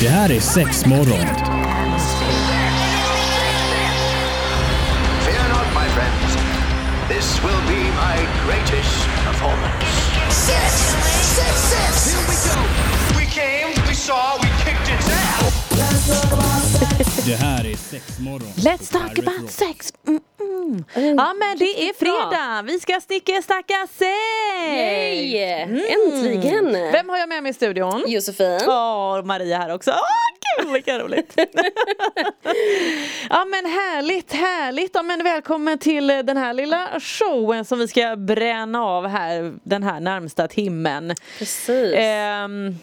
Det här är sex morgon. Fear not, my friends. This will be my greatest performance. Six, six, six. we go. We came, we saw, we kicked its ass. Det här är sex morgon. Let's talk about sex! Mm, mm. Ja men det är fredag, vi ska sticka stacka sex! Hej! Äntligen! Vem har jag med mig i studion? Josefin. Ja, och Maria här också. Åh, kul, vilka roligt! ja men härligt, härligt! Ja, men välkommen till den här lilla showen som vi ska bränna av här den här närmsta timmen. Precis. Ehm,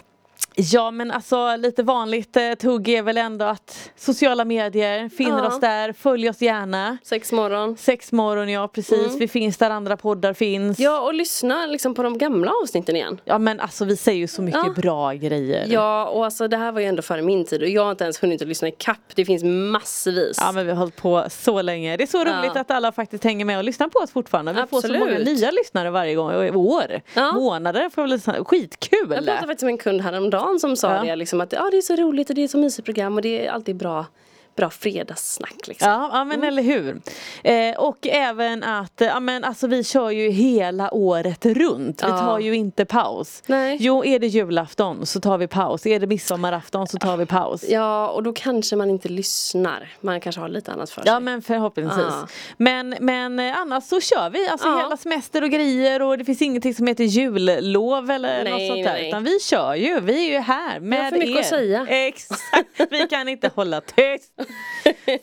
ja men alltså lite vanligt eh, tugg är väl ändå att sociala medier finner Ja. oss där, följ oss gärna. Sex morgon. Sexmorgon ja precis, vi finns där andra poddar finns. Mm. Ja och lyssna liksom på de gamla avsnitten igen. Ja, men alltså vi säger ju så mycket Ja. bra grejer. Ja och alltså det här var ju ändå före min tid och jag har inte ens hunnit att lyssna i kapp. Det finns massvis. Ja men vi har hållit på så länge. Det är så roligt att alla faktiskt hänger med och lyssnar på oss fortfarande. Vi får så Absolut. många nya lyssnare varje gång, och i år. Ja. Månader får vi lyssna. Skitkul! jag pratade faktiskt med en kund häromdagen som sa Ja. det liksom att ja, det är så roligt och det är så mysigt program och det är alltid bra, bra fredagssnack liksom. Ja, ja men eller hur. Eh, och även att eh, ja, men, alltså, vi kör ju hela året runt. Vi Ja. tar ju inte paus. Nej. Jo, är det julafton så tar vi paus. Är det midsommarafton så tar vi paus. Ja och då kanske man inte lyssnar. Man kanske har lite annat för sig. Ja men förhoppningsvis. Ja. Men, men eh, annars så kör vi alltså Ja. hela semester och grejer och det finns ingenting som heter jullov eller Nej, något sånt där. nej. Utan vi kör ju, vi är ju här med har för mycket er. att säga. Exakt, vi kan inte hålla tyst.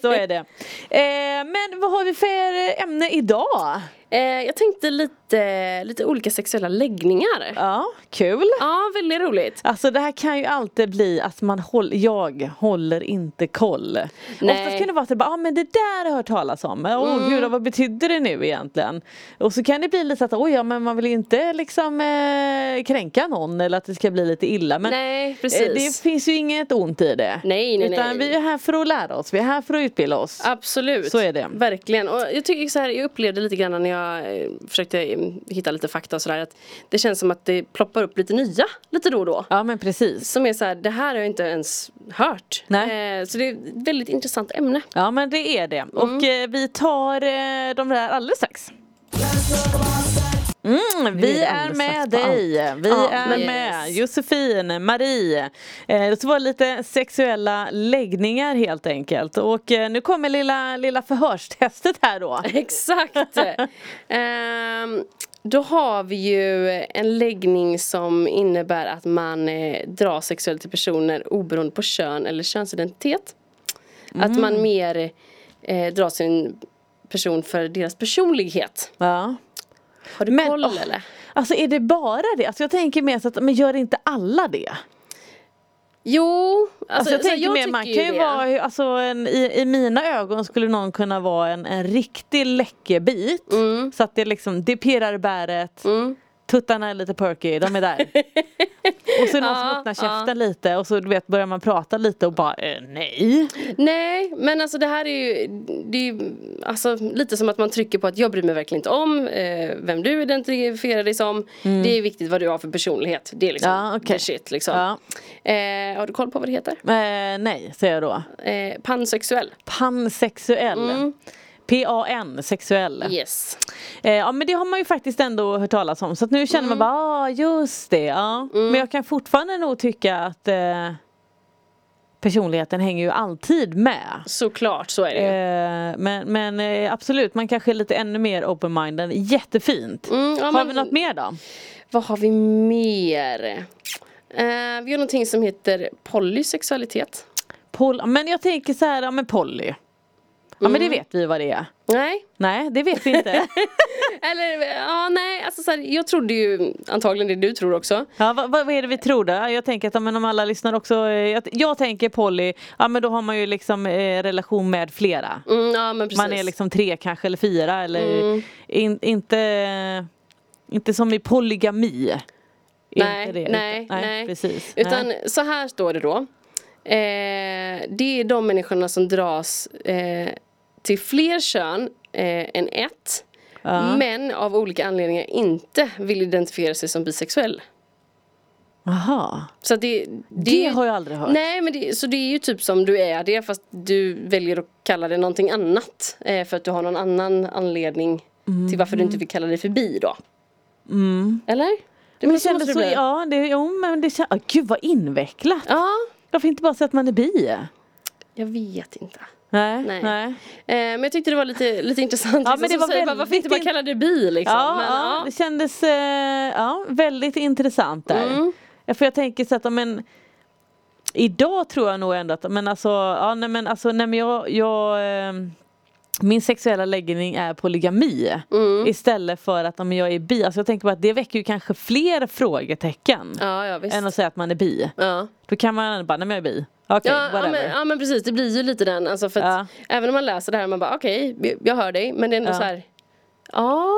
Så är det. Eh, men vad har vi för ämne idag? eh, jag tänkte lite, lite olika sexuella läggningar. Ja, Ja, kul. väldigt roligt. Alltså det här kan ju alltid bli att man håll, jag håller inte koll. Oftast kan det vara att det bara, ah, men det där har jag hört talas om. Åh Mm. gud, vad betyder det nu egentligen? Och så kan det bli lite så att, oj ja men man vill ju inte liksom eh, kränka någon eller att det ska bli lite illa. Men Nej, precis. eh, det finns ju inget ont i det. Nej, nej, Utan nej. vi är här för att lära oss, vi är här för att utbilda oss. Absolut. Så är det. Verkligen. Och jag, tycker så här, jag upplevde lite grann när jag eh, försökte eh, hitta lite fakta och sådär att det känns som att det ploppar upp lite nya lite då och då. Ja men precis. Som är så här, det här har jag inte ens hört. Nej. Eh, så det är ett väldigt intressant ämne. Ja men det är det. Och eh, vi tar eh, de där alldeles strax. Mm, vi är med dig, vi Ja, är men- med Yes. Josefin, Marie. Eh, det var lite sexuella läggningar helt enkelt. Och eh, nu kommer lilla, lilla förhörstestet här då. Exakt. Ehm, då har vi ju en läggning som innebär att man eh, drar sexuellt till personer oberoende på kön eller könsidentitet. Att Mm. man mer eh, drar sin person för deras personlighet. Ja. Har du Men, koll åh. eller? Alltså är det bara det? Alltså, jag tänker mer så att, men gör inte alla det? Jo, Alltså, alltså, jag så här, tänker mer, man tycker kan ju det. vara, alltså, en, i, i mina ögon skulle någon kunna vara en, en riktig läckerbit. Så att det är liksom, det pirrar i bäret, tuttarna är lite perky, de är där. och så är det någon som öppnar käften lite och så du vet, börjar man prata lite och bara eh, nej. Nej, men alltså det här är ju, det är ju alltså, lite som att man trycker på att jag bryr mig verkligen inte om eh, vem du identifierar dig som. Det är viktigt vad du har för personlighet. Det är liksom Mm. Ja, okej. the shit liksom. Ja. Eh, har du koll på vad det heter? Eh, nej, säger jag då. Eh, pansexuell. Pansexuell. PAN, sexuell. Yes. Eh, ja men det har man ju faktiskt ändå hört talas om så att nu känner Mm. man bara, ah, just det. Ja. Men jag kan fortfarande nog tycka att eh, personligheten hänger ju alltid med. Såklart, så är det ju. Eh, men men eh, absolut, man kanske är lite ännu mer open-minded. Jättefint! Mm, ja, har men- vi något mer då? Vad har vi mer? Eh, vi har någonting som heter polysexualitet. Pol- men jag tänker så här, ja men poly. Ja men Mm. det vet vi vad det är. Nej, Nej, det vet vi inte. eller ja, nej, alltså så här, jag trodde ju antagligen det du tror också. Ja, vad, vad vad är det vi tror då? Jag tänker att ja, men om alla lyssnar också, eh, jag, jag tänker poly, ja men då har man ju liksom eh, relation med flera. Mm, ja, men precis. Mm. Man är liksom tre kanske eller fyra eller in, inte, inte som i polygami. Nej, inte det, nej, utan- nej. Precis. Utan nej. så här står det då. Eh, det är de människorna som dras eh, till fler kön eh, än ett. Men av olika anledningar inte vill identifiera sig som bisexuell. Aha. Så att det, det, Det har jag aldrig hört. Nej, men det, så det är ju typ som du är det fast du väljer att kalla det någonting annat. Eh, för att du har någon annan anledning Mm. till varför du inte vill kalla det förbi då. Eller? Det Men det måste- kändes måste så, bli. ja, det, jo, men det kändes, gud vad invecklat. ja, Varför inte bara säga att man är bi? jag vet inte. Nej. Nej. nej. Eh, men jag tyckte det var lite, lite intressant. Ja, liksom, men det som var säger bara, varför väldigt inte bara in- kalla det bi liksom? Ja, men, ja, det kändes eh, ja, väldigt intressant där. Mm. Ja, För jag tänker så att ja, men, idag tror jag nog ändå att, men alltså, ja, nej, men, alltså nej, men jag, jag eh, min sexuella läggning är polygami Mm. istället för att ja, men jag är bi. Alltså jag tänker bara att det väcker ju kanske fler frågetecken ja, ja visst. än att säga att man är bi. ja. Då kan man ändå bara, nej men jag är bi. Okej, Ja, ja, Typ, whatever. men, ja men precis, det blir ju lite den. Alltså för att Även om man läser det här man bara okej, jag hör dig. Men det är ändå Ja. så här, ja.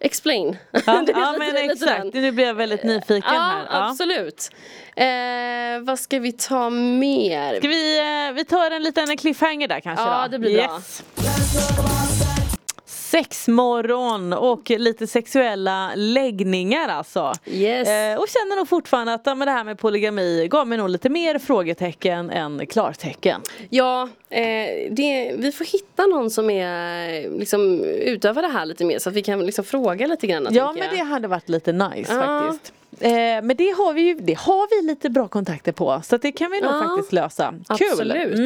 Explain. Ja, Det är ja men lite- det är lite exakt, den. nu blir jag väldigt nyfiken Ja, här. Ja. absolut. Eh, vad ska vi ta mer? Ska vi, eh, vi tar en liten cliffhanger där kanske Ja, då? det blir bra. Sexmorgon och lite sexuella läggningar alltså. Yes. Eh, och känner nog fortfarande att ja, men det här med polygami gav mig nog lite mer frågetecken än klartecken. Ja, eh, det, vi får hitta någon som är, eh, liksom, utövar det här lite mer så att vi kan liksom fråga lite grann. Ja tänker men det jag. hade varit lite nice Ja. faktiskt. Eh, men det har, vi ju, det har vi lite bra kontakter på så att det kan vi nog Ja. faktiskt lösa. Kul! Absolut. Mm.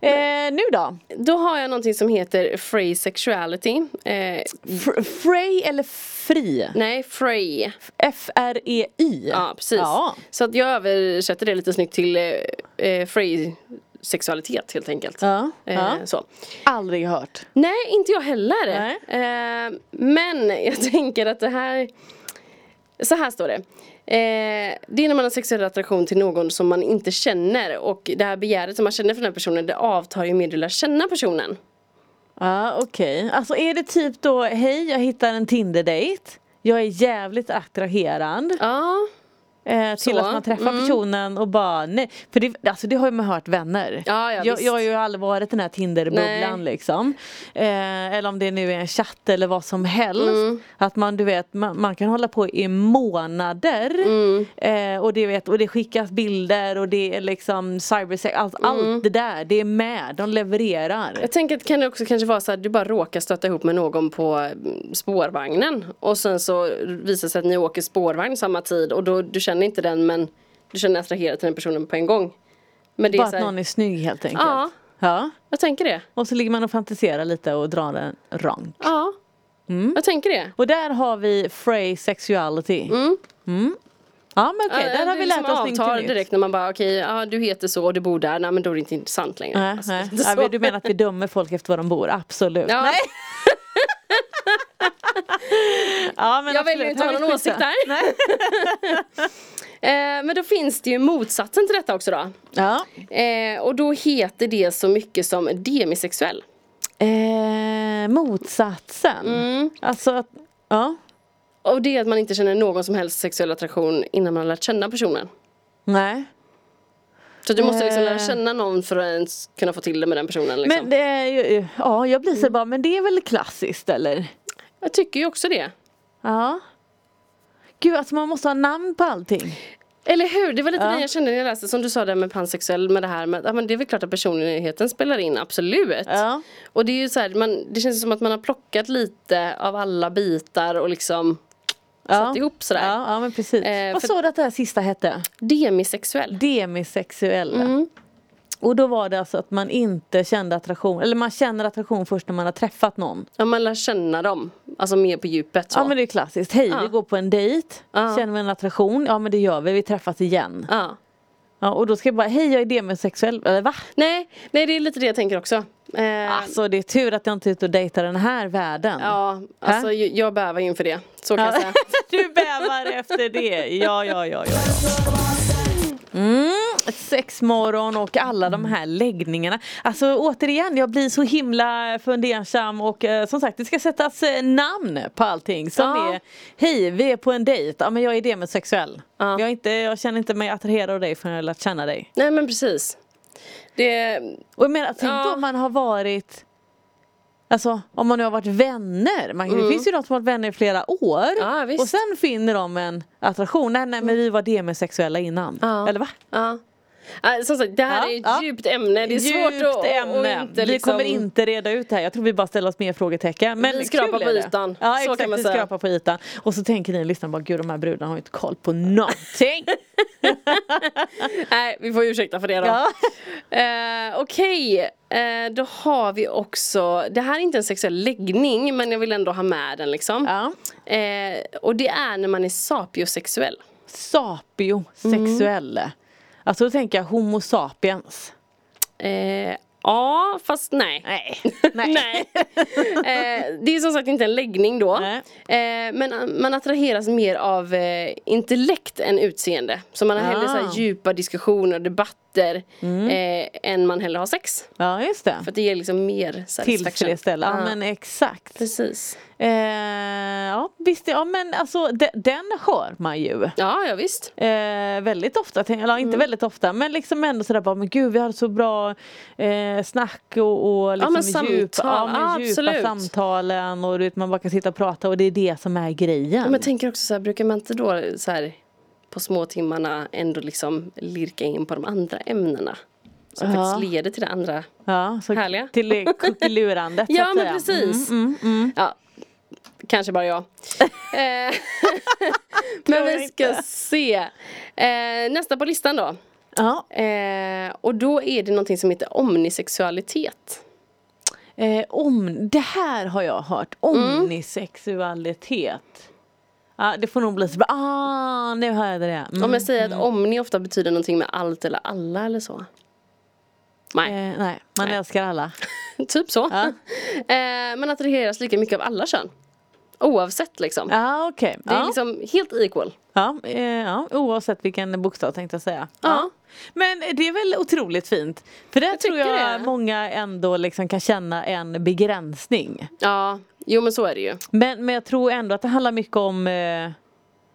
Mm. Eh, nu då? Då har jag någonting som heter Free Sexuality. Eh, Fr- Frey eller fri? nej, Free. F-R-E-I. Ja, precis. E Ja. Så att jag översätter det lite snyggt till eh, eh, free sexualitet helt enkelt. Ja, Eh, ja. Så. Aldrig hört. Nej, inte jag heller. Nej. Eh, men jag tänker att det här... Så här står det. Eh, det är när man har sexuell attraktion till någon som man inte känner och det här begäret som man känner för den här personen det avtar ju mer du lär känna personen. Ja, okej. Alltså är det typ då, hej jag hittar en Tinder-date. Jag är jävligt attraherad Ja, eh, till så. Mm. att man träffar personen och bara nej. För det, alltså det har ju man hört vänner. Ja, ja, jag, visst. jag har ju aldrig varit i den här Tinder-bubblan Nej. liksom. Eh, eller om det nu är en chatt eller vad som helst. Mm. Att man du vet, man, man kan hålla på i månader. Mm. Eh, och, det vet, och det skickas bilder och det är liksom cybersex, allt, allt det där. Det är med, de levererar. Mm. jag tänker att det kan det också kanske vara så att du bara råkar stöta ihop med någon på mm, spårvagnen och sen så visar det sig att ni åker spårvagn samma tid och då du känner inte den men du känner dig attraherad till den personen på en gång. Men det är Bara så att här, någon är snygg helt enkelt. Ja. Ja. jag tänker det. Och så ligger man och fantiserar lite och drar en rank. Ja, Mm. jag tänker det. Och där har vi Frey sexuality. Mm. Ja men okej, där Ja, har det vi är lärt som oss avtar någonting nytt. direkt när man bara okej, ja, du heter så och du bor där, nej men då är det inte intressant längre. Nej, Alltså, nej. det är Ja, så. men du menar att vi dömer folk efter var de bor? Absolut. Ja. Nej. ja, men Jag absolut. väljer inte att Här ha är någon skitsa. åsikt där. Eh, men då finns det ju motsatsen till detta också då. Ja. Eh, och då heter det så mycket som demisexuell. Eh, motsatsen. Mm. Alltså att, ja. Och det är att man inte känner någon som helst sexuell attraktion innan man har lärt känna personen. Nej. Liksom. Så du måste liksom Eh. lära känna någon för att ens kunna få till det med den personen liksom. Men det är ju, ja jag blir Mm. så bara, men det är väl klassiskt eller? Jag tycker ju också det. Ja. Gud, alltså man måste ha namn på allting. Eller hur, det var lite Ja. det jag kände när jag läste som du sa där med pansexuell med det här med att ja, men det är väl klart att personligheten spelar in, absolut. Ja. Och det är ju så här, man, det känns som att man har plockat lite av alla bitar och liksom Ja. satt ihop sådär. Ja, ja men precis. Eh, Vad för- sa du att det här sista hette? Mm. Demisexuell. Demisexuella. Och då var det alltså att man inte kände attraktion, eller man känner attraktion först när man har träffat någon. Ja, man lär känna dem, alltså mer på djupet så. Ja men det är klassiskt, hej Ja. vi går på en dejt, Ja. känner vi en attraktion, ja men det gör vi, vi träffas igen. Ja. Ja, och då ska jag bara, hej jag är demisexuell, eller va? Nej, nej, det är lite det jag tänker också. Eh, Alltså det är tur att jag inte är ute och dejtar den här världen. Ja, alltså Hä? ju- jag bävar ju inför det. Så kan jag säga. du bävar efter det. Ja, ja, ja, ja. ja. Mm, sexmorgon och alla de här läggningarna. Alltså återigen, jag blir så himla fundersam och eh, som sagt det ska sättas eh, namn på allting som Ja. är Hej, vi är på en dejt. Ja men jag är demisexuell. Ja. Jag, är inte, jag känner inte mig attraherad av dig förrän jag har lärt känna dig. Nej men precis. Det, eh, Och jag menar, tänk Ja. då om man har varit Alltså om man nu har varit vänner, man, det finns ju de som har varit vänner i flera år Mm. Ja, visst. Mm. och sen finner de en attraktion, nej nej men vi var demisexuella innan. Ja. Eller va? Ja. Ja, Som sagt, det här Ja, är ett ja. djupt ämne. Det är svårt att, ämne. att inte Vi liksom... kommer inte reda ut det här. Jag tror vi bara ställer oss mer frågetecken. Men Vi skrapar kul är på det. ytan. Ja, Så exakt, kan man vi säga. skrapar på ytan. Och så tänker ni lyssnare bara, gud de här brudarna har ju inte koll på någonting. Nej, vi får ursäkta för det då. Ja. Eh, Okej, eh, då har vi också, det här är inte en sexuell läggning men jag vill ändå ha med den liksom. ja. Eh, och det är när man är sapiosexuell. Sapiosexuell. Mm. Alltså då tänker jag homo sapiens. Eh, ja, fast nej. Nej. Nej. eh, det är som sagt inte en läggning då. Nej. Eh, men eh, man attraheras mer av eh, intellekt än utseende. Så man har hellre Ah. Mm. så här djupa diskussioner och debatter eh, än man hellre har sex. Ja just det. För att det ger liksom mer satisfaction. Tillfredsställa. Ja, men exakt. Precis. Eh, ja visst, ja men alltså de, den hör man ju. Ja, ja visst. Eh, väldigt ofta, tänk- eller Mm. inte väldigt ofta men liksom ändå sådär bara men gud vi hade så bra eh, snack och, och liksom men djup, ja, samtal. men Ja, djupa absolut. samtalen och du vet, man bara kan sitta och prata och det är det som är Ja, grejen. men jag tänker också så här, brukar man inte då så här på småtimmarna ändå liksom lirka in på de andra ämnena? Som Ja. faktiskt leder till det andra. ja, så Härliga. Till det kuckelurandet så Ja att men säga. Mm. precis. Ja, kanske bara jag. Eh, men Tror vi ska inte. se. Eh, nästa på listan då. Ja. Eh, och då är det någonting som heter omnisexualitet. Eh, om, det här har jag hört, Mm. omnisexualitet. Ja, det får nog bli så bara, ah nu hörde jag det. Mm. Om jag säger att omni ofta betyder någonting med allt eller alla eller så. Nej, eh, nej, man älskar alla. typ så. Ja. eh, man attraheras lika mycket av alla kön. Oavsett liksom. Ja okej. Det är Ja. liksom helt equal. Ja, eh, ja, oavsett vilken bokstav tänkte jag säga. Ja. Men det är väl otroligt fint. För där tror tycker jag det. många ändå liksom kan känna en begränsning. Ja, jo men så är det ju. Men, men jag tror ändå att det handlar mycket om eh,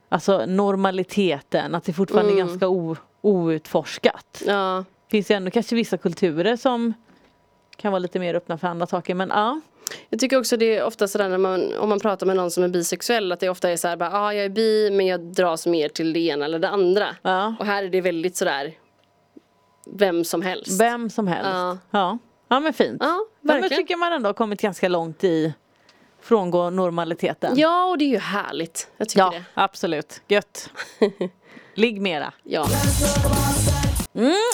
alltså normaliteten. Att det fortfarande Mm. är ganska o, outforskat. Ja. finns ju ändå kanske vissa kulturer som kan vara lite mer öppna för andra saker. Men ja, Jag tycker också det är ofta sådär när man, om man pratar med någon som är bisexuell att det ofta är såhär bara, ah, jag är bi men jag dras mer till det ena eller det andra. Ja. Och här är det väldigt sådär vem som helst. vem som helst. Ja. Ja, ja. men fint. Ja, men verkligen. tycker man ändå har kommit ganska långt i frångå normaliteten. Ja och det är ju härligt. Jag tycker Ja, det. absolut. Gött. Ligg mera. Ja.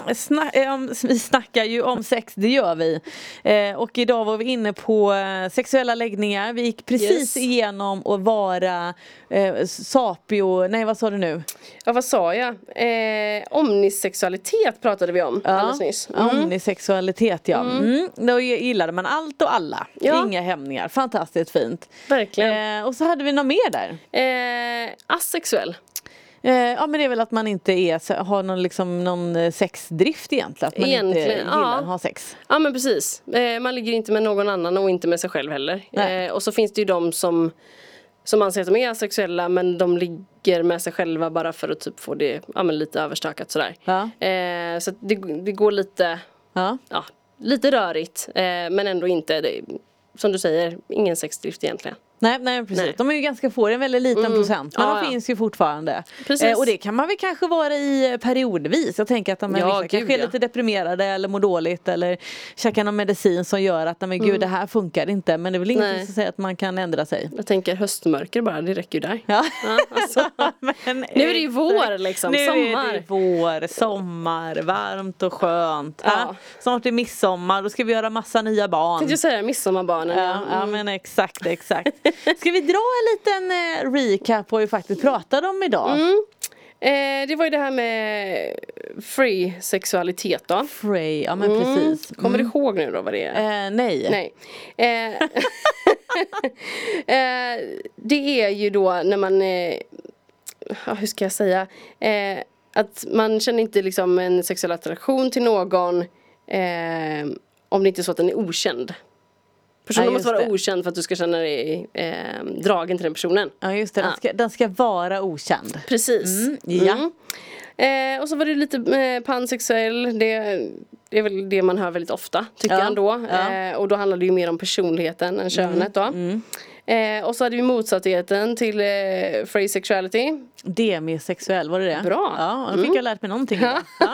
Sna- eh, om- vi snackar ju om sex, det gör vi. Eh, och idag var vi inne på eh, sexuella läggningar. Vi gick precis Yes. igenom att vara eh, sapio... Nej, vad sa du nu? ja vad sa jag? Eh, omnisexualitet pratade vi om alldeles nyss. Mm. Omnisexualitet, ja. Mm. Då gillade man allt och alla. Ja. Inga hämningar. Fantastiskt fint. Verkligen. Eh, och så hade vi något mer där. Eh, asexuell. Eh, ja men det är väl att man inte är, har någon, liksom, någon eh, sexdrift egentligen. Att man inte Egentligen, gillar ja. att ha sex. Ja men precis. Eh, man ligger inte med någon annan och inte med sig själv heller. Nej. Eh, och så finns det ju de som som anser att de är asexuella men de ligger med sig själva bara för att typ få det ja, men lite överstökat sådär. Ja. Eh, så att det, det går lite, Ja. ja, lite rörigt eh, men ändå inte, det, som du säger, ingen sexdrift egentligen. Nej, nej precis. Nej. Mm. De är ju ganska få, det är en väldigt liten procent. Men Ja, de ja. finns ju fortfarande. Precis. Eh, och det kan man väl kanske vara i eh, periodvis. Jag tänker att de här Ja, vissa gud, kanske är ja. lite deprimerade eller mår dåligt eller käkar någon medicin som gör att nej, men gud det här funkar inte. Men det är väl ingenting Mm. Nej. som säger att man kan ändra sig. Jag tänker höstmörker bara, det räcker ju där. Ja. alltså. Men, Nu är det ju exakt. vår, liksom, Nu är sommar. det vår, sommar, varmt och skönt. Ja. Ja. Snart är midsommar, då ska vi göra massa nya barn. Tänkte jag säga midsommarbarnen. Mm. Ja, ja men exakt, exakt. Ska vi dra en liten eh, recap på vad vi faktiskt pratade om idag? Mm. Eh, det var ju det här med free sexualitet då. Mm. Frey, ja men precis. Mm. Kommer du ihåg nu då vad det är? Eh, nej. Nej. Eh, eh, det är ju då när man, eh, ja, hur ska jag säga, eh, att man känner inte liksom en sexuell attraktion till någon eh, om det inte är så att den är okänd. Personen Ja, måste just vara det. okänd för att du ska känna dig eh, dragen till den personen. Ja just det, Den, Ja. ska, den ska vara okänd. Precis. Mm, ja. Mm. Eh, och så var det lite eh, pansexuell. Det det är väl det man hör väldigt ofta tycker Ja, han då. ja. Mm, Eh, och då handlar det ju mer om personligheten än könet då. Eh, och så hade vi motsattigheten till eh, free sexuality. Demisexuell, var det det? Bra. Mm. Ja, då fick jag lärt mig någonting. idag. Ja.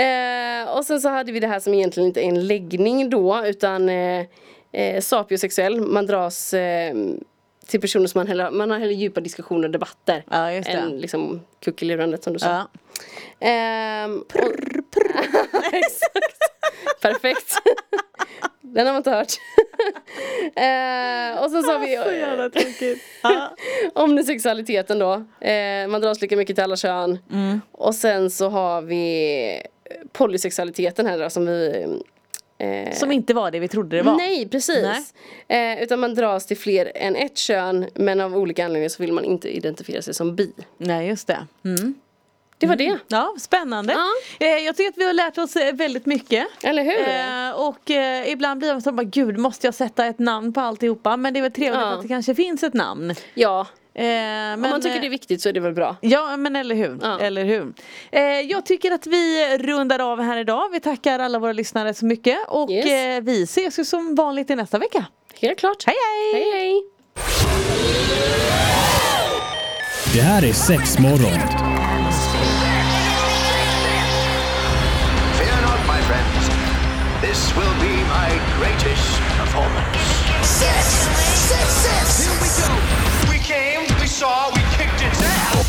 Eh, och sen så hade vi det här som egentligen inte är en läggning då utan eh, eh, sapiosexuell. Man dras eh, till personer som man, hellre, man har hellre djupa diskussioner och debatter. Ja, just det. Än liksom kuckelurandet som du sa. Ja. Ehm, och... Exakt. Perfekt. Den har man inte hört. Ehm, och sen så har vi Ah, Så jävla tråkigt. Ja. omnisexualiteten då. Ehm, man dras lika mycket till alla kön. Mm. Och sen så har vi polysexualiteten här då som vi eh, Som inte var det vi trodde det var. Nej precis! Eh, utan man dras till fler än ett kön men av olika anledningar så vill man inte identifiera sig som bi. Nej, just det. Mm. Det var det. Ja, spännande. Ja. Eh, jag tycker att vi har lärt oss eh, väldigt mycket. Eller hur? Eh, och eh, ibland blir man så bara, gud måste jag sätta ett namn på alltihopa? Men det är väl trevligt Ja. att det kanske finns ett namn. Eh, Ja. men, eh, Om man tycker det är viktigt så är det väl bra. Ja men eller hur. Ja. Eller hur. Eh, jag tycker att vi rundar av här idag. Vi tackar alla våra lyssnare så mycket och Yes. eh, vi ses ju som vanligt i nästa vecka. Helt klart. Hej, hej! Hej hej! Det här är sex morgon. Fear not, my friends. This will be my greatest performance. Six, six, six. Here we go. We came, we saw, we kicked its ass.